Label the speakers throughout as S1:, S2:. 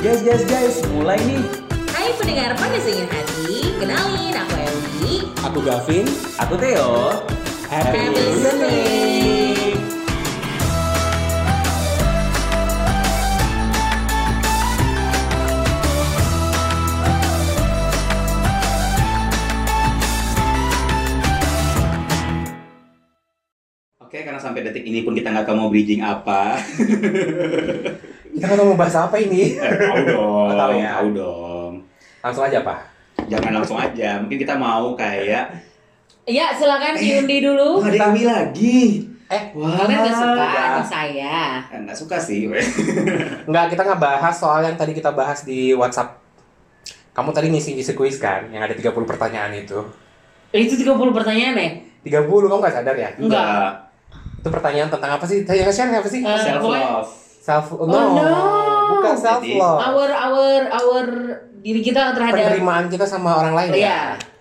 S1: Yes, yes guys, mulai nih.
S2: Hai pendengar Pandasanya Hati, kenalin aku Emily.
S1: Aku Gavin, aku Theo.
S2: Happy listening.
S3: Oke, karena sampai detik ini pun kita nggak tahu mau bridging apa.
S1: Kita kan mau bahas apa ini?
S3: Eh, tahu dong,
S1: Oh, tahu ya.
S3: tahu dong.
S1: Langsung aja, Pak.
S3: Jangan langsung aja. Mungkin kita mau kayak
S2: Ya silakan diundi dulu.
S3: "Wah, ada Emi lagi.
S1: Eh,
S3: wah,
S2: Oh, Kalian gak suka
S1: Ah.
S2: atau
S3: nggak-
S2: saya?
S3: eh, nggak suka sih. weh.
S1: Enggak, kita nggak bahas soal yang tadi kita bahas di WhatsApp. Kamu tadi ngisi-ngisi kuis kan, yang ada 30 pertanyaan itu.
S2: Eh, Itu 30 pertanyaan ya?
S1: 30, kamu nggak sadar ya?
S3: Nggak.
S1: Itu pertanyaan tentang apa sih? Yang nge-share apa sih?
S2: Eh,
S3: Self
S2: pokoknya-
S3: love.
S1: Self, no.
S2: no.
S1: Bukan self love.
S2: Our, our, our diri kita terhadap
S1: Penerimaan kita sama orang lain
S2: Iya.
S1: ya?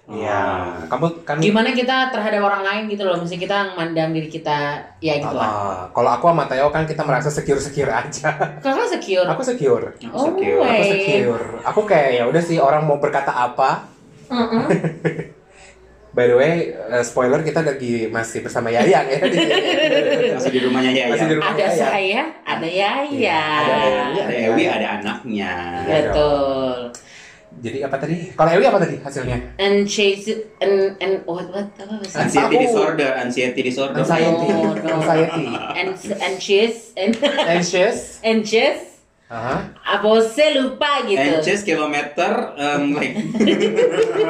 S1: Iya.
S3: Ah.
S1: Kamu, kami
S2: gimana kita terhadap orang lain gitu loh. Misalnya kita mandang diri kita, ya gitu lah.
S1: Ah, kalau aku sama Theo kan kita merasa secure-secure aja.
S2: Kakak secure.
S1: Aku secure.
S3: Aku
S2: Oh, weh.
S3: secure.
S1: Aku secure. Aku kayak ya udah sih orang mau berkata apa.
S2: Mm-mm.
S1: By the way, eh, spoiler kita lagi masih bersama Yayang ya di sini.
S3: Masih di rumahnya ya.
S1: Masih di rumah.
S2: Ada
S1: Iya.
S2: saya, ada ya, Yaya.
S1: Iya, ada Yaya.
S3: Ada Ewi, ada anaknya.
S2: Betul.
S1: Jadi apa tadi? Kalau Ewi apa tadi hasilnya?
S2: And chase it, and, and what, what, apa bahasa?
S3: Anxiety
S1: Tahu.
S3: disorder, anxiety disorder.
S1: Anxiety,
S2: Oh, no.
S1: anxiety,
S2: and and cheese and
S1: anxious.
S2: and cheese
S1: Aha.
S2: apa saya lupa gitu
S3: Anxious kilometer, um, like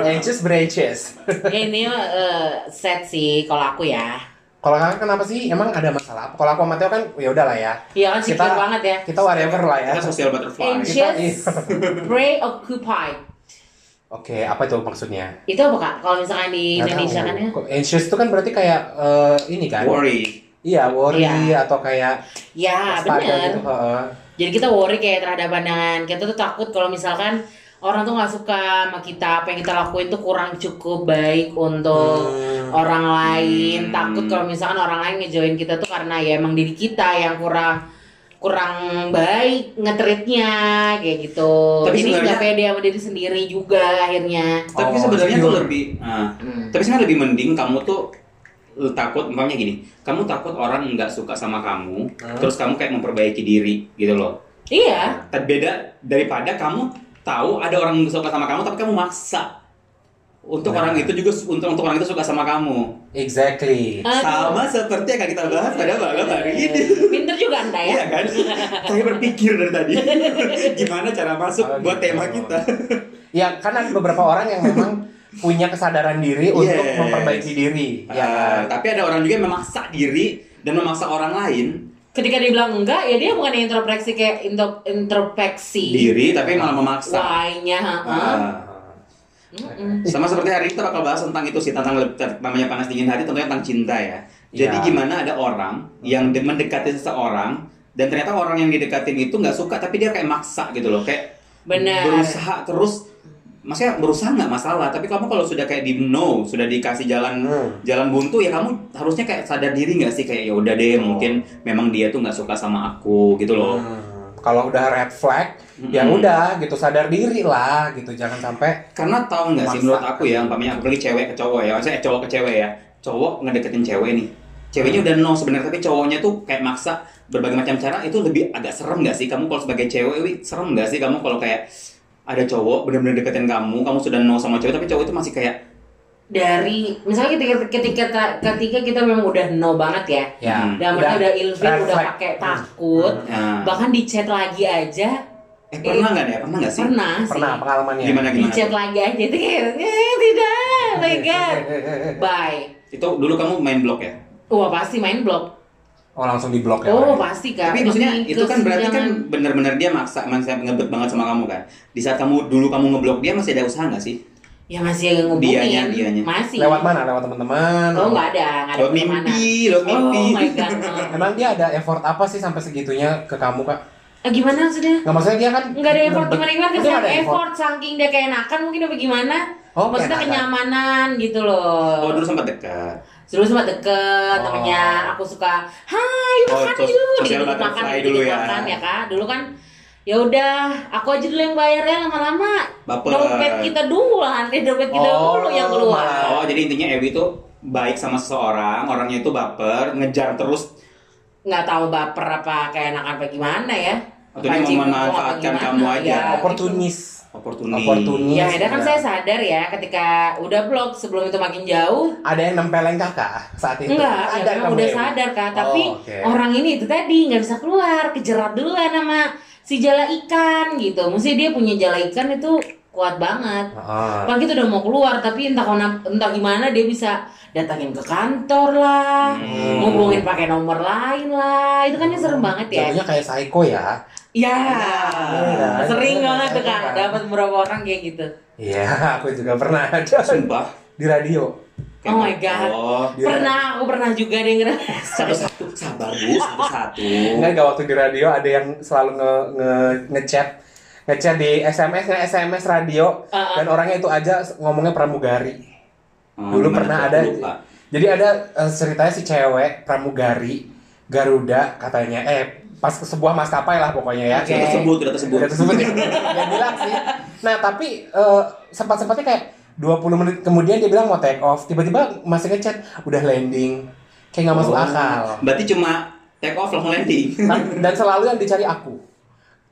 S1: Anxious branches.
S2: ini eh, set sih kalau aku ya
S1: Kalau kakak kenapa sih? Emang ada masalah apa? Kalau aku sama Theo kan ya udahlah ya.
S2: ya kan secure
S1: Kita-
S2: banget ya
S1: Kita whatever lah ya.
S3: kita social butterfly.
S2: Anxious.
S1: Kita-
S2: Yes. preoccupied
S1: Oke, apa itu maksudnya?
S2: itu apa kak kalau misalkan di
S1: Nggak
S2: Indonesia
S1: tahu.
S2: kan ya
S1: Anxious itu kan berarti kayak eh, ini kan?
S3: Worry.
S1: Iya, worry
S2: Iya.
S1: atau kayak
S2: ya
S1: waspada
S2: bener
S1: gitu. heeh.
S2: jadi kita worry kayak terhadap pandangan kita tuh takut kalau misalkan orang tuh nggak suka sama kita apa yang kita lakuin tuh kurang cukup baik untuk
S1: Hmm.
S2: orang lain
S3: Hmm.
S2: takut kalau misalkan orang lain ngejoin kita tuh karena ya emang diri kita yang kurang kurang baik ngetritnya kayak gitu
S3: Tapi
S2: jadi nggak
S3: sebenarnya-
S2: pede sama diri sendiri juga akhirnya
S3: Tapi
S1: Oh,
S3: sebenarnya tuh
S1: secure.
S3: lebih. ah. Tapi sebenarnya lebih mending kamu tuh eh, takut umpamanya gini, kamu takut orang nggak suka sama kamu,
S1: Hmm.
S3: terus kamu kayak memperbaiki diri gitu loh.
S2: iya
S3: Tapi Beda daripada kamu tahu ada orang yang suka sama kamu tapi kamu maksa untuk
S1: Nah.
S3: orang itu juga su- untuk untuk orang itu suka sama kamu.
S1: Exactly.
S2: Aduh.
S3: Sama seperti yang akan kita bahas pada malam hari ini.
S2: pinter juga anda ya
S3: Iya kan? Saya berpikir dari tadi gimana cara masuk
S1: Oh,
S3: buat
S1: gitu.
S3: tema kita.
S1: Ya, karena ada beberapa orang yang memang punya kesadaran
S3: Iya,
S1: diri untuk
S3: Yes.
S1: memperbaiki diri. Ya,
S3: iya. Ah, tapi ada orang juga yang memaksa diri dan memaksa orang lain
S2: ketika dia bilang enggak ya dia bukan introspeksi kayak intro, introspeksi
S3: diri tapi malah memaksa.
S2: why-nya heeh.
S3: Ah.
S2: Mm-mm.
S3: Sama seperti hari ini kita bakal bahas tentang itu sih tentang le- ter- namanya panas dingin hati tentunya tentang cinta ya. Jadi
S1: Iya.
S3: gimana ada orang yang de- mendekati seseorang dan ternyata orang yang didekatin itu nggak suka tapi dia kayak maksa gitu loh kayak
S2: Benar.
S3: berusaha terus maksudnya berusaha nggak masalah tapi kamu kalau sudah kayak di no sudah dikasih jalan
S1: Hmm.
S3: jalan buntu ya kamu harusnya kayak sadar diri nggak sih kayak ya udah deh
S1: Oh.
S3: mungkin memang dia tuh nggak suka sama aku gitu loh Hmm.
S1: Hmm. Kalau udah red flag, ya
S3: Mm-mm.
S1: udah gitu sadar diri lah gitu. Jangan sampai
S3: karena tahu nggak
S1: Maksa.
S3: sih menurut aku ya umpamanya apalagi cewek ke cowok ya maksudnya cowok ke cewek ya cowok ngedeketin cewek nih
S2: Hmm.
S3: ceweknya udah no sebenarnya tapi cowoknya tuh kayak maksa berbagai macam cara itu lebih agak serem nggak sih kamu kalau sebagai cewek wi serem nggak sih kamu kalau kayak ada cowok benar-benar deketin kamu kamu sudah no sama cewek tapi cowok itu masih kayak
S2: dari misalnya ketika ketika ketika kita memang udah no banget ya
S3: Mm.
S1: ya.
S2: dan udah, udah ilfil
S1: red
S2: udah
S1: flag.
S2: pakai
S1: Hmm.
S2: takut
S3: nah,
S2: bahkan di chat lagi aja
S3: eh pernah nggak ya pernah nggak sih
S2: pernah,
S1: Pernah
S2: sih
S1: pengalamannya.
S3: gimana
S2: di
S3: gimana
S2: chat
S3: tuh?
S2: lagi aja itu kayak eh, tidak oh my god bye
S3: itu dulu kamu main blog ya
S2: wah pasti main blog
S1: Oh langsung di blok ya.
S2: oh
S1: orangnya.
S2: pasti kan
S3: Iya, tapi maksudnya itu kan berarti kan benar-benar dia maksa maksa ngebet banget sama kamu kan di saat kamu dulu kamu ngeblok dia masih ada usaha nggak sih
S2: ya masih ngubungin
S3: Dianya, dianya.
S2: masih
S1: Lewat mana? Lewat teman-teman.
S2: oh nggak ada nggak ada
S3: Lewat
S2: kemana-mana.
S3: mimpi, lewat mimpi.
S2: oh my god no.
S1: Emang dia ada effort apa sih sampai segitunya ke kamu kak?
S2: Eh, gimana maksudnya
S1: Nggak maksudnya dia kan
S2: Enggak ada effort
S1: ngebet-
S2: gimana gimana
S1: Itu
S2: kan
S1: nggak ada effort.
S2: effort saking dia keenakan mungkin apa gimana
S1: Oh,
S2: maksudnya
S1: keenakan.
S2: kenyamanan gitu loh
S3: Oh dulu sempat dekat.
S2: dulu sempat deket
S1: Oh.
S2: namanya aku suka hai
S3: Oh,
S2: makan
S3: sos-
S2: yuk dikit
S3: sosial
S2: makan
S3: butterfly
S2: dikit
S3: dulu ya.
S2: makan ya kak dulu kan ya udah aku aja dulu yang bayar ya lama-lama
S3: Baper.
S2: dompet kita dulu lah nanti dompet kita
S1: Oh,
S2: dulu yang keluar
S1: malah.
S3: Oh, jadi intinya Ewi itu baik sama seseorang, orangnya itu baper, ngejar terus
S2: nggak tahu baper apa keenakan apa gimana ya
S3: Atau dia
S2: Pancing
S3: mau
S2: gua
S3: memanfaatkan
S2: apa
S3: kamu
S2: gimana,
S3: aja.
S2: ya, gitu.
S1: Oportunis.
S3: oportunis.
S1: Oportunis.
S2: ya akhirnya kan saya sadar ya ketika udah blok sebelum itu makin jauh
S1: Ada yang nempelin kakak saat itu.
S2: Enggak, ya
S1: ada
S2: memang
S1: kamu,
S2: udah
S1: Ewi?
S2: sadar kak. Tapi
S1: Oh, oke.
S2: orang ini itu tadi nggak bisa keluar, kejerat duluan sama si jala ikan gitu. Mesti dia punya jala ikan itu kuat banget.
S1: Heeh.
S2: Pagi itu udah mau keluar, tapi entah kona- entah gimana dia bisa datangin ke kantor lah,
S3: Hmm.
S2: ngubungin pakai nomor lain lah. Itu kan ya serem banget ya.
S1: Jatuhnya kayak psycho ya.
S2: Ya,
S3: Iya,
S2: sering
S1: iya,
S2: banget tuh
S1: iya,
S2: kak.
S1: kan.
S2: Dapat berapa orang kayak gitu.
S1: Iya, aku juga pernah ada
S3: Sumpah.
S1: di radio.
S3: Kayak,
S2: Oh my God.
S3: Oh,
S1: Iya.
S2: Pernah, aku pernah juga denger.
S3: satu-satu sabar bu, satu-satu.
S1: Enggak enggak waktu di radio ada yang selalu nge nge ngechat ngechat di SMS ya SMS radio
S2: Uh-uh.
S1: dan orangnya itu aja ngomongnya pramugari.
S3: Oh,
S1: Dulu
S3: gimana
S1: pernah
S3: tuh?
S1: ada.
S3: Lupa.
S1: Jadi ada eh, ceritanya si cewek pramugari Garuda katanya eh pas ke sebuah maskapai lah pokoknya ya.
S2: Oke.
S3: Sudah tersebut, sudah tersebut.
S1: Udah tersebut ya. Dia bilang sih. Nah, tapi eh, sempat-sempatnya kayak 20 menit kemudian dia bilang mau take off, tiba-tiba masih ngechat udah landing. Kayak nggak masuk
S3: Oh.
S1: akal.
S3: Berarti cuma take off langsung landing.
S1: Dan- dan selalu yang dicari aku.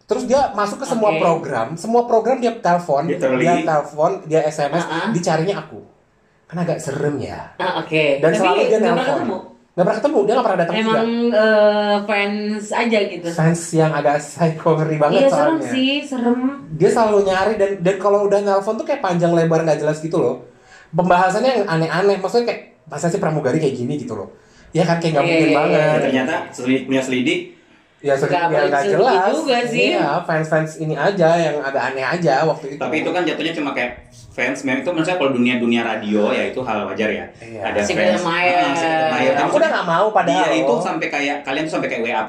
S1: Terus dia masuk ke semua
S2: Oke.
S1: program, semua program dia telepon,
S3: Dia terli.
S1: dia telepon, dia SMS,
S2: Ah-ah.
S1: dicarinya aku. Kan agak serem ya.
S2: Ah, Oke.
S1: Dan
S2: Tapi
S1: selalu dia
S2: nggak pernah
S1: nelpon.
S2: ketemu.
S1: Nggak pernah ketemu, dia nggak pernah datang juga.
S2: Emang eh, fans aja gitu.
S1: Fans yang agak psycho ngeri banget
S2: Iya serem
S1: soalnya.
S2: sih, serem.
S1: Dia selalu nyari dan dan kalau udah nelpon tuh kayak panjang lebar nggak jelas gitu loh. Pembahasannya yang aneh-aneh, maksudnya kayak masa sih pramugari kayak gini gitu loh. Ya kan kayak nggak
S2: Iya,
S1: mungkin
S2: iya, iya.
S1: banget.
S3: Dan ternyata selidik, punya selidik.
S1: Ya sudah
S2: Nggak
S1: ya, nggak
S2: boleh
S1: jelas.
S2: diselidikin juga sih.
S1: Iya, fans-fans ini aja yang agak aneh aja waktu itu.
S3: Tapi itu kan jatuhnya cuma kayak fans. Memang itu maksudnya kalau dunia dunia radio ya itu hal wajar ya.
S1: Iya. Ya,
S3: Ada
S2: Si
S3: fans.
S2: Mayer.
S3: Ah, si Mayer.
S1: Aku udah nggak mau padahal.
S3: Dia Iya, itu sampai kayak kalian tuh sampai kayak WA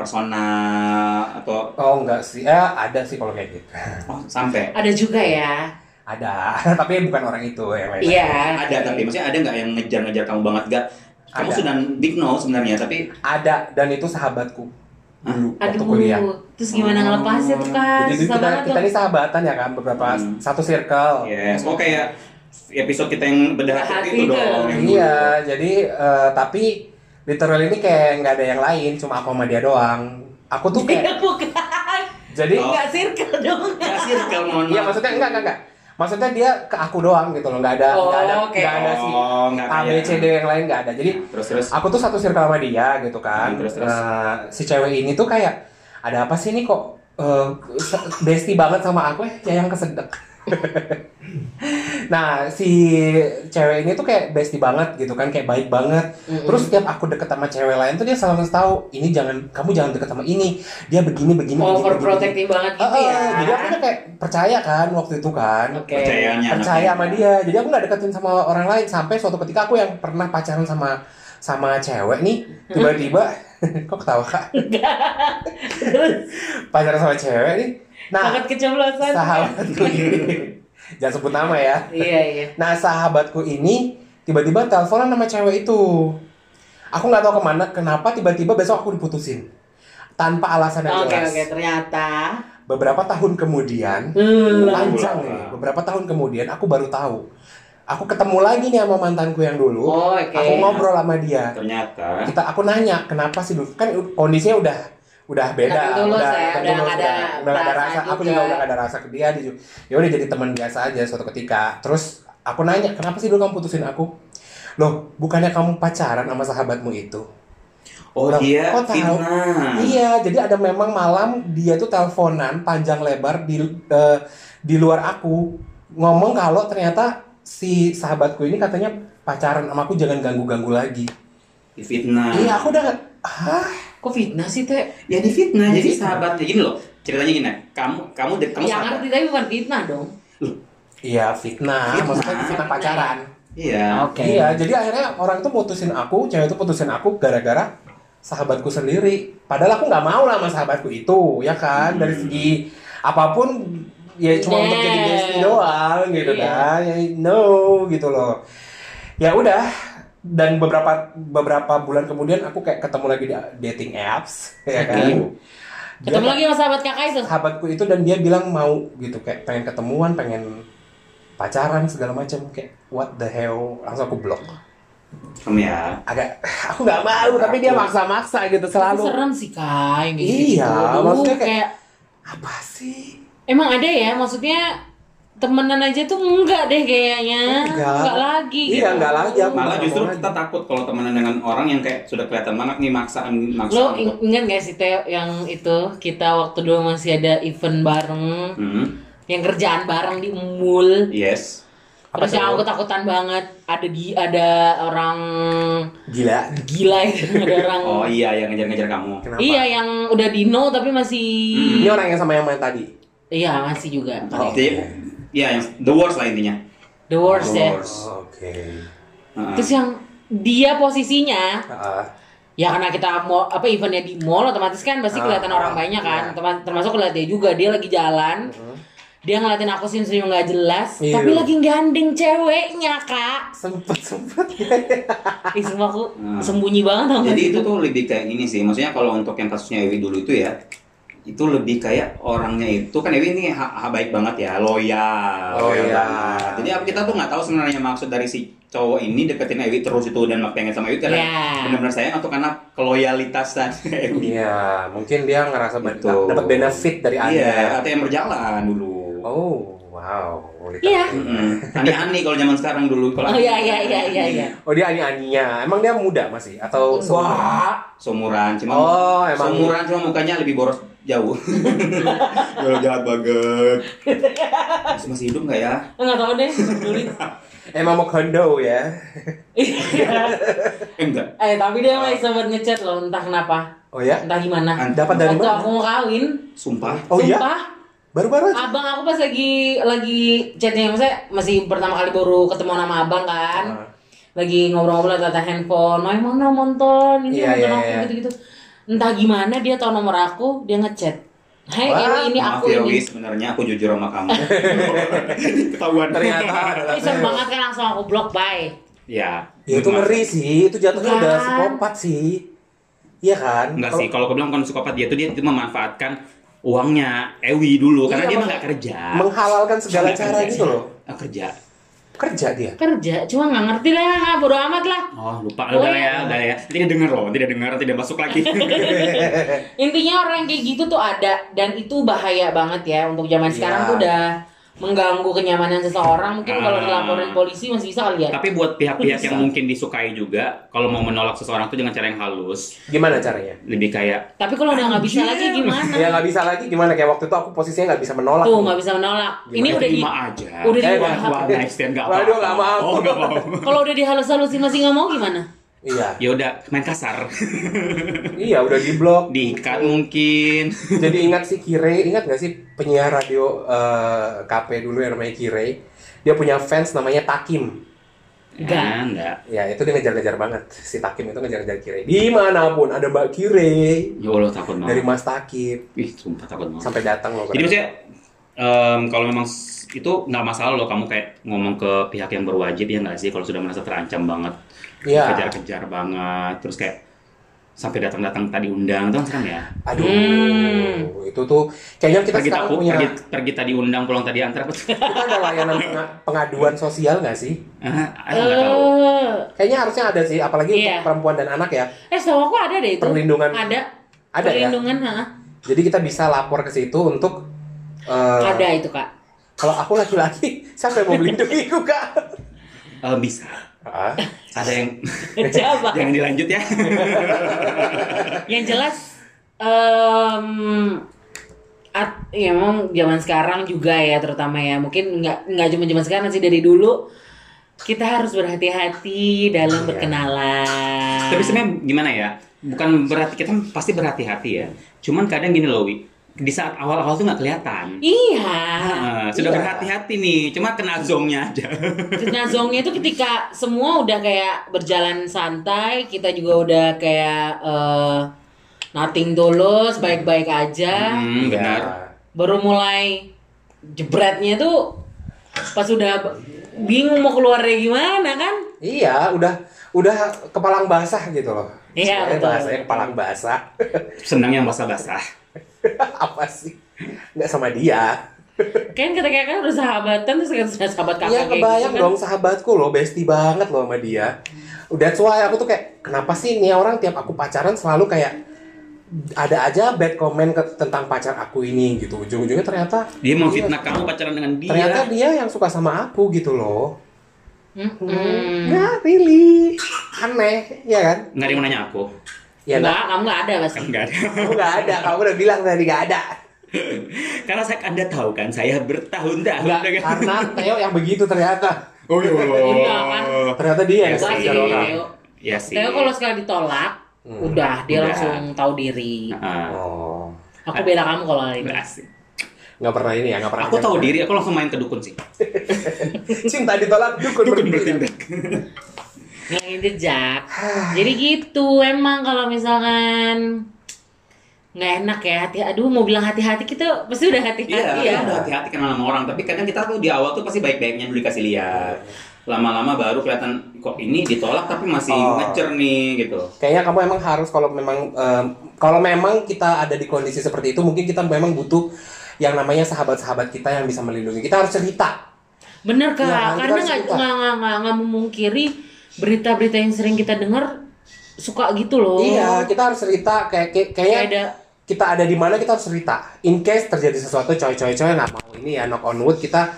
S3: personal atau
S1: Oh enggak sih, eh, ada sih kalau kayak gitu.
S3: oh, sampai
S2: Ada juga ya.
S1: Ada, tapi bukan orang itu yang lain.
S2: Iya.
S3: Kan ada tapi maksudnya ada nggak yang ngejar-ngejar kamu banget gak? Kamu
S1: Ada.
S3: sudah big no sebenarnya tapi
S1: Ada dan itu sahabatku dulu waktu
S2: Aduh,
S1: kuliah. Hmm.
S2: terus gimana ngelepasnya tuh kan?
S1: Jadi dulu
S2: Susah
S1: kita,
S2: banget
S1: kita
S2: tuh.
S1: ini sahabatan ya kan beberapa
S3: Hmm.
S1: satu circle.
S3: yes, oh kayak episode kita yang bedah
S2: Bedah
S3: hati
S2: hati
S3: itu
S2: itu.
S3: dong. yang dulu.
S1: Iya, jadi eh, tapi literally ini kayak nggak ada yang lain, cuma aku sama dia doang. Aku tuh
S2: Iya
S1: kayak
S2: bukan.
S1: ya? jadi
S3: Oh.
S2: Enggak circle dong.
S3: Ya, sih, kalau mohon
S1: Iya
S3: maaf.
S1: maksudnya enggak enggak enggak. Maksudnya dia ke aku doang gitu loh, nggak ada
S2: Oh,
S1: nggak ada
S2: oke.
S1: nggak ada si
S3: Oh, nggak
S1: A B
S3: kayak-
S1: C D yang lain nggak ada. Jadi
S3: Terus terus.
S1: aku tuh satu circle sama dia gitu kan.
S3: Hmm, terus, terus.
S1: Nah, si cewek ini tuh kayak ada apa sih ini kok eh, bestie banget sama aku eh yang kesedek. nah si cewek ini tuh kayak bestie banget gitu kan kayak baik banget. Terus setiap aku deket sama cewek lain tuh dia selalu ngasih tahu ini jangan kamu jangan deket sama ini dia begini begini. begini, begini."
S2: Overprotective banget
S1: Ah,
S2: gitu
S1: ah,
S2: ya.
S1: Jadi aku tuh kayak percaya kan waktu itu kan.
S2: Oke.
S3: Percayanya.
S1: Percaya sama dia. Jadi aku nggak deketin sama orang lain sampai suatu ketika aku yang pernah pacaran sama sama cewek nih tiba-tiba kok ketawa kak
S2: Terus
S1: pacaran sama cewek nih nah
S2: takut kecoblosan.
S1: sahabatku ini jangan sebut nama ya
S2: Iya iya.
S1: nah sahabatku ini tiba-tiba teleponan sama cewek itu aku nggak tahu kemana kenapa tiba-tiba besok aku diputusin tanpa alasan yang
S2: Oke
S1: jelas
S2: oke ternyata.
S1: beberapa tahun kemudian
S2: Hmm.
S1: panjang nih beberapa tahun kemudian aku baru tahu aku ketemu lagi nih sama mantanku yang dulu
S2: Oh oke.
S1: aku ngobrol sama dia
S3: Ternyata.
S1: kita aku nanya kenapa sih dulu kan u- kondisinya udah udah beda
S2: Tapi tulus
S1: udah
S2: ya,
S1: kan
S2: udah
S1: tulus,
S2: nggak ada
S1: udah- udah nggak ada
S2: perasaan gitu ya.
S1: rasa aku
S2: juga.
S1: juga udah nggak ada rasa ke dia dia juga ya udah jadi teman biasa aja suatu ketika terus aku nanya kenapa sih dulu kamu putusin aku loh bukannya kamu pacaran sama sahabatmu itu
S3: Oh
S1: Orang-
S3: dia
S1: kok tahu?
S3: Tina.
S1: Iya, jadi ada memang malam dia tuh teleponan panjang lebar di eh, di luar aku ngomong kalau ternyata si sahabatku ini katanya pacaran sama aku jangan ganggu-ganggu lagi.
S2: Hmm.
S3: Di fitnah.
S1: Iya, aku udah hah,
S2: Kok fitnah sih teh?
S3: Ya di fitnah. Jadi
S1: Di fitnah.
S3: sahabatnya gini loh. Ceritanya gini, kamu kamu de- kamu
S2: Ya
S3: sahabat.
S2: ngerti tapi bukan fitnah dong.
S1: iya fitnah,
S3: Fitnah.
S1: maksudnya fitnah pacaran.
S3: Iya.
S2: Oke.
S1: Iya, jadi akhirnya orang tuh mutusin aku, cewek itu putusin aku gara-gara sahabatku sendiri. Padahal aku nggak mau lah sama sahabatku itu, ya kan? Dari
S3: Hmm.
S1: segi apapun ya cuma untuk jadi
S2: Nah.
S1: bestie doang gitu
S2: Iya.
S1: kan. Ya, no gitu loh. Ya udah dan beberapa beberapa bulan kemudian aku kayak ketemu lagi di dating apps ya kan. Dia
S2: Ketemu lagi sama sahabat kakak itu.
S1: sahabatku itu dan dia bilang mau gitu kayak pengen ketemuan pengen pacaran segala macam kayak what the hell langsung aku blok
S3: Kamu ya.
S1: agak aku nggak mau tapi dia maksa-maksa gitu
S2: Tapi
S1: selalu
S2: serem sih Kai. kayak
S1: Iya,
S2: gitu. Aduh,
S1: maksudnya kayak-
S2: kayak
S1: apa sih
S2: Emang ada ya, maksudnya temenan aja tuh enggak deh kayaknya.
S1: Enggak.
S2: lagi. gitu.
S1: Iya, enggak lagi, aku-
S3: Malah justru
S1: Ngomong
S3: kita takut kalau temenan dengan orang yang kayak sudah kelihatan banget nih maksaan
S2: Lo
S3: maksaan.
S2: ing- ingat gak sih Teo yang itu kita waktu dulu masih ada event bareng,
S3: Hmm,
S2: yang kerjaan bareng di Umbul.
S3: yes.
S1: Apa
S2: Terus
S1: tuh?
S2: yang aku takutan banget ada di ada orang
S1: gila
S2: gila itu ada orang
S3: Oh iya yang ngejar-ngejar kamu.
S1: kenapa
S2: Iya yang udah di no tapi masih
S1: ini orang yang sama yang main tadi
S2: iya masih juga.
S1: Oh.
S3: Jadi, ya yang the worst lah intinya.
S2: The worst
S3: The
S2: ya.
S3: worst.
S1: oke
S3: Heeh.
S2: Terus yang dia posisinya
S1: Ah,
S2: ya karena kita mau apa eventnya di mall otomatis kan pasti
S1: Ah,
S2: kelihatan
S1: ah,
S2: orang banyak kan
S1: iya.
S2: Termas- termasuk kelihatan dia juga dia lagi jalan
S1: mm.
S2: dia ngeliatin aku senyum-senyum nggak jelas
S1: Iya.
S2: tapi lagi gandeng ceweknya kak
S1: sempet sempet
S2: Ih, sumpah aku
S1: Ah.
S3: Hmm.
S2: sembunyi banget sama
S1: Iya kan?
S3: Jadi
S2: dia.
S3: itu tuh lebih kayak gini sih. Maksudnya kalau untuk yang kasusnya Ewi dulu itu ya, itu lebih kayak orangnya itu kan Ewi ini ha, ha baik banget ya, loyal.
S1: Loyal.
S3: banget. Jadi apa kita tuh nggak tahu sebenarnya maksud dari si cowok ini deketin Ewi terus itu dan pengen sama Ewi karena
S2: Ya.
S3: benar-benar sayang atau karena keloyalitasan Ewi.
S1: iya mungkin dia ngerasa ben-
S3: Gitu.
S1: dapat benefit dari anda
S3: Iya, atau yang berjalan dulu.
S1: oh wow Mm-hmm.
S2: Iya.
S3: Mm-mm. Ani-ani kalau zaman sekarang dulu kalau
S2: oh iya iya iya iya iya
S1: oh dia ani aninya emang dia muda masih atau seumuran?
S3: Wah, seumuran cuma
S1: Oh, emang.
S3: seumuran cuma mukanya lebih boros jauh. Jauh jahat banget. Masih, masih hidup nggak ya?
S2: nggak tahu deh nggak peduli
S1: emang mau kondo ya
S2: Iya.
S3: Eh, enggak.
S2: eh tapi dia masih sempat ngechat loh entah kenapa
S1: oh ya
S2: entah gimana
S3: An-
S1: dapat dari
S2: waktu
S1: mana
S2: aku mau kawin
S3: Sumpah.
S1: Oh iya?
S2: sumpah
S1: baru-baru aja
S2: abang aku pas lagi lagi chatnya maksudnya masih pertama kali baru ketemu sama abang kan
S1: Ah.
S2: lagi ngobrol-ngobrol tata handphone main mana nonton ini
S1: Iya, iya,
S2: nonton aku
S1: iya.
S2: gitu-gitu entah gimana dia tahu nomor aku dia ngechat Hai
S1: Wah,
S2: Ewi ini
S3: Maaf
S2: iya, aku
S3: ya, Wi,
S2: ini
S3: sebenarnya aku jujur sama kamu. Ketahuan.
S1: ternyata adalah
S2: Ih, serem
S1: Theo.
S2: banget kan langsung aku block bye
S3: Ya.
S1: ya itu ngeri sih itu jatuhnya
S2: Bukan.
S1: udah psikopat sih iya kan
S3: Enggak
S1: Kalau-
S3: sih, kalau aku bilang bukan psikopat dia tuh dia cuma memanfaatkan uangnya Ewi dulu
S2: Iya,
S3: karena dia mah
S2: mak-
S3: nggak kerja.
S1: menghalalkan segala
S3: Nggak
S1: cara
S3: kerja.
S1: gitu loh
S3: Nggak iya, Ah, kerja.
S1: kerja dia
S2: kerja cuma nggak ngerti lah bodo amat lah
S3: Oh, lupa
S2: Oh,
S3: udah
S2: iya.
S3: ya, udah ya. Tidak dengar loh, tidak dengar, tidak masuk lagi.
S2: intinya orang yang kayak gitu tuh ada dan itu bahaya banget ya untuk zaman sekarang
S1: Iya.
S2: tuh udah mengganggu kenyamanan seseorang mungkin kalau
S3: Ah.
S2: dilaporin polisi masih bisa kali ya
S3: Tapi buat pihak-pihak yang
S2: Bisa.
S3: mungkin disukai juga, kalau mau menolak seseorang tuh dengan cara yang halus,
S1: gimana caranya
S3: lebih kayak
S2: tapi kalau udah nggak bisa lagi gimana
S3: Iya.
S1: ya nggak bisa lagi gimana kayak waktu itu aku posisinya nggak bisa menolak
S2: tuh nggak bisa menolak ini
S3: "Ya,
S2: udah di
S3: terima aja.
S2: udah di-
S1: Eh, nggak.
S3: Wah, nice stand nggak apa-apa.
S1: Waduh, nggak mau.
S3: Oh, nggak mau.
S2: kalau udah dihalus-halusin masih nggak mau gimana
S1: iya
S3: Ya udah main kasar,
S1: iya udah di blok
S3: diikat mungkin.
S1: Jadi ingat si Kire, ingat gak sih penyiar radio eh, KP dulu yang namanya Kire? Dia punya fans namanya Takim.
S2: Nggak.
S3: Ya, nggak.
S1: Ya itu dia ngejar-ngejar banget. Si Takim itu ngejar-ngejar Kire. Dimanapun ada Mbak Kire.
S3: Ya Allah takut
S1: Dari
S3: banget.
S1: Mas Takim
S3: Ih, sumpah takut banget.
S1: sampai datang loh.
S3: Jadi maksudnya em, kalau memang s- itu nggak masalah loh kamu kayak ngomong ke pihak yang berwajib ya nggak sih kalau sudah merasa terancam banget,
S1: Iya.
S3: kejar-kejar banget, terus kayak sampai datang-datang tadi undang itu kan serem ya.
S1: Aduh,
S2: Hmm.
S1: itu tuh kayaknya kita
S3: pergi
S1: sekarang
S3: tahu
S1: punya
S3: pergi, pergi tadi undang pulang tadi antar apa tuh?
S1: kita ada layanan penga- pengaduan sosial nggak sih?
S3: Ah,
S2: eh
S3: aku nggak tahu
S1: Kayaknya harusnya ada sih, apalagi
S2: Iya.
S1: untuk perempuan dan anak ya.
S2: eh setahu aku ada deh itu
S1: Perlindungan.
S2: ada
S1: Ada ya.
S2: perlindungan ha?
S1: Jadi kita bisa lapor ke situ untuk eh,
S2: ada itu kak
S1: Kalau aku laki-laki, siapa yang mau melindungiku kak?
S3: Eh, bisa
S1: Ah,
S3: ada yang
S2: Coba.
S3: jangan dilanjut ya
S2: yang jelas em at, ya memang zaman sekarang juga ya terutama ya mungkin nggak nggak cuma zaman sekarang sih dari dulu kita harus berhati-hati dalam
S1: Iya.
S2: berkenalan
S3: tapi sebenarnya gimana ya bukan berarti kita pasti berhati-hati ya cuman kadang gini loh Wi di saat awal-awal tuh nggak kelihatan
S2: iya
S3: Ah, sudah
S1: Iya.
S3: berhati-hati nih cuma kena zongnya aja
S2: Nah zongnya itu ketika semua udah kayak berjalan santai kita juga udah kayak eh, nothing tulus baik-baik
S1: Iya.
S2: aja
S3: Hmm, benar
S2: baru mulai jebretnya tuh pas udah bingung mau keluarnya gimana kan
S1: Iya, udah udah kepalang basah gitu loh.
S2: Iya,
S1: Istilahnya
S2: betul.
S1: Bahasanya kepalang basah.
S3: senang yang basah-basah
S1: apa sih nggak sama dia
S2: Kan ketika kan udah sahabatan terus kan sudah sahabat kakak
S1: Iya
S2: kayak
S1: kebayang
S2: gitu kan.
S1: dong sahabatku loh bestie banget loh sama dia udah why aku tuh kayak kenapa sih nih orang tiap aku pacaran selalu kayak ada aja bad comment ke- tentang pacar aku ini gitu ujung-ujungnya ternyata
S3: Dia mau fitnah kamu pacaran dengan dia.
S1: Iya. ternyata dia yang suka sama aku gitu loh
S2: Mm-mm.
S1: hmm. nggak really aneh ya kan
S3: Nggak ada yang mau nanya aku.
S1: ya nah,
S2: Enggak, kamu enggak ada pasti.
S3: Enggak ada.
S1: kamu nggak ada kamu udah bilang tadi nggak ada
S3: Karena saya Anda tahu kan, saya bertahun-tahun
S1: nggak kan. karena Theo yang begitu ternyata
S3: Oh iya.
S2: Enggak kan.
S1: ternyata dia yang
S3: Iya
S1: dikejar
S2: Enggak sih,
S1: orang
S2: Theo.
S3: Iya sih.
S2: Theo kalau sekali ditolak,
S1: Hmm.
S2: udah dia
S3: Udah.
S2: langsung tahu diri.
S3: Ah,
S1: oh
S2: Aku bela kamu kalau hari ini.
S3: asik.
S1: nggak pernah ini ya nggak pernah
S3: Aku
S1: ajak.
S3: tahu diri, aku langsung main ke dukun sih.
S1: cinta ditolak dukun, bertindak.
S2: Ngilangin jejak.
S1: Ah.
S2: Jadi gitu emang kalau misalkan nggak enak ya hati aduh mau bilang hati-hati kita pasti udah
S3: Iya,
S2: hati-hati ya.
S3: iya. hati-hati kenal sama orang. Tapi kadang kita tuh di awal tuh pasti baik-baiknya dulu dikasih lihat. Lama-lama baru kelihatan kok ini ditolak tapi masih
S1: Oh.
S3: ngecer nih gitu.
S1: Kayaknya kamu emang harus kalau memang em, kalau memang kita ada di kondisi seperti itu mungkin kita memang butuh yang namanya sahabat-sahabat kita yang bisa melindungi. Kita harus cerita.
S2: Bener
S1: Iya,
S2: kak,
S1: kan, kita
S2: karena
S1: harus
S2: nggak
S1: cerita.
S2: nggak nggak nggak nggak memungkiri berita-berita yang sering kita dengar suka gitu loh.
S3: Oh.
S1: Iya, kita harus cerita kayak kayak- kayaknya
S2: Kayak ada
S1: kita ada di mana kita harus cerita. In case terjadi sesuatu coy-coy-coy nggak mau ini ya knock on wood kita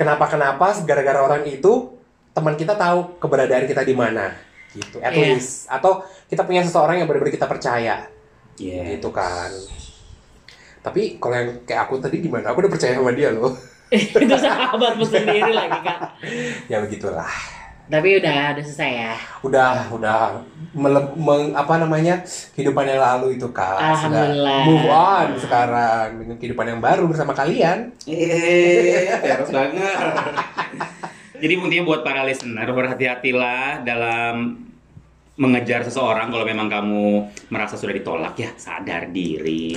S1: kenapa-kenapa gara-gara orang itu teman kita tahu keberadaan kita di mana gitu. At
S2: Iya.
S1: least atau kita punya seseorang yang benar-benar kita percaya.
S3: Iya.
S1: gitu kan tapi kalau yang kayak aku tadi gimana aku udah percaya sama dia loh
S2: itu sahabatmu sendiri lagi kak.
S1: ya begitulah
S2: Tapi udah udah selesai
S3: Iya.
S2: ya.
S1: udah udah mele- meng- apa namanya kehidupan yang lalu itu kak Sudah
S2: Alhamdulillah.
S1: move on sekarang dengan kehidupan yang baru bersama kalian
S3: Eh, harus banget. Jadi intinya buat para listener berhati-hatilah dalam mengejar seseorang kalau memang kamu merasa sudah ditolak ya sadar diri.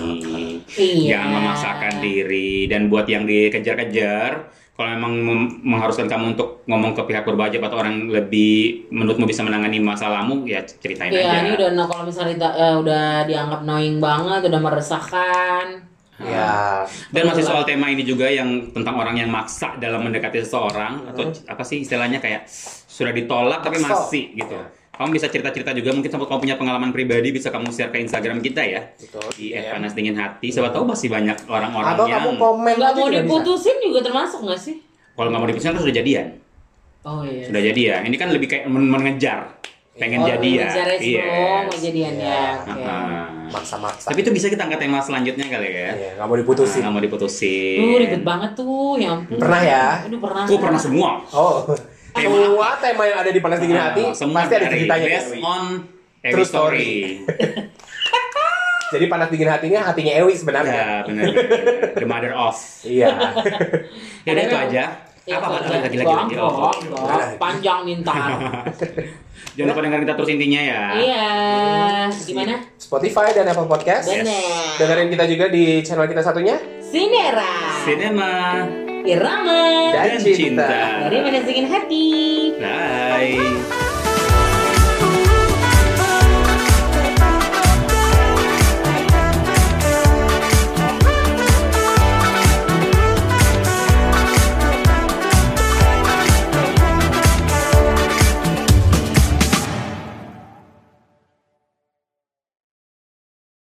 S2: Iya.
S3: Jangan memaksakan diri dan buat yang dikejar-kejar kalau memang mem- mengharuskan kamu untuk ngomong ke pihak berwajib atau orang lebih menurutmu bisa menangani masalahmu ya ceritain
S2: Iya
S3: aja.
S2: ini udah no, kalau misalnya kita, eh, udah dianggap knowing banget, udah meresahkan.
S3: Hmm.
S1: ya
S3: Dan masih soal tema ini juga yang tentang orang yang maksa dalam
S2: Hmm.
S3: mendekati seseorang atau c- apa sih istilahnya kayak sudah ditolak tapi
S1: Maksa.
S3: masih gitu. Kamu bisa cerita-cerita juga mungkin sampai kamu punya pengalaman pribadi bisa kamu share ke Instagram kita ya
S1: betul
S3: di
S1: Ya.
S2: Iya.
S3: @panas dingin hati. Siapa tahu masih banyak orang-orang
S1: atau
S3: yang
S1: kamu komen
S2: Nggak
S1: aja
S2: mau
S1: juga bisa.
S2: diputusin juga termasuk nggak sih?
S3: kalau nggak mau diputusin kan sudah jadian,
S2: Oh iya.
S3: sudah jadian. Ini kan lebih kayak men- mengejar, pengen
S2: oh,
S3: jadian.
S2: Ngejar ya
S3: Iya.
S2: sebelum mau jadian ya.
S1: Iya.
S2: Oke.
S3: Ah.
S1: maksa-maksa
S3: Tapi itu bisa kita angkat tema selanjutnya kali ya.
S1: Iya, nggak mau
S3: Nah,
S1: diputusin
S3: nggak mau diputusin.
S2: Duh Uh, ribet banget tuh, ya ampun.
S1: Pernah ya?
S2: Aduh pernah.
S3: Aku pernah semua.
S1: oh
S3: Tema.
S1: semua tema yang ada di panas dingin hati
S3: Ah, semua
S1: pasti ada
S3: dari
S1: ceritanya
S3: Based
S1: Dewi.
S3: on every
S1: True
S3: story.
S1: story. Iya, jadi panas dingin hatinya hatinya Ewi sebenarnya
S3: ya, benar. The mother of.
S1: iya
S3: Ya, udah, itu aja.
S2: Ya,
S3: Apa apa
S2: itu aja.
S3: lagi lagi lagi lagi.
S2: Bohong,
S3: Oh,
S2: bohong,
S3: oh.
S2: bohong. Panjang mintar.
S3: Jangan lupa dengerin kita terus intinya ya.
S2: Iya. Gimana?
S1: Spotify dan Apple Podcast.
S3: Yes.
S2: Bener.
S1: Dengerin kita juga di channel kita satunya
S2: Sinera.
S3: Cinema
S2: Irama.
S1: dan,
S3: dan
S1: cinta.
S3: cinta.
S2: Dari Manajemen Hati.
S3: Bye.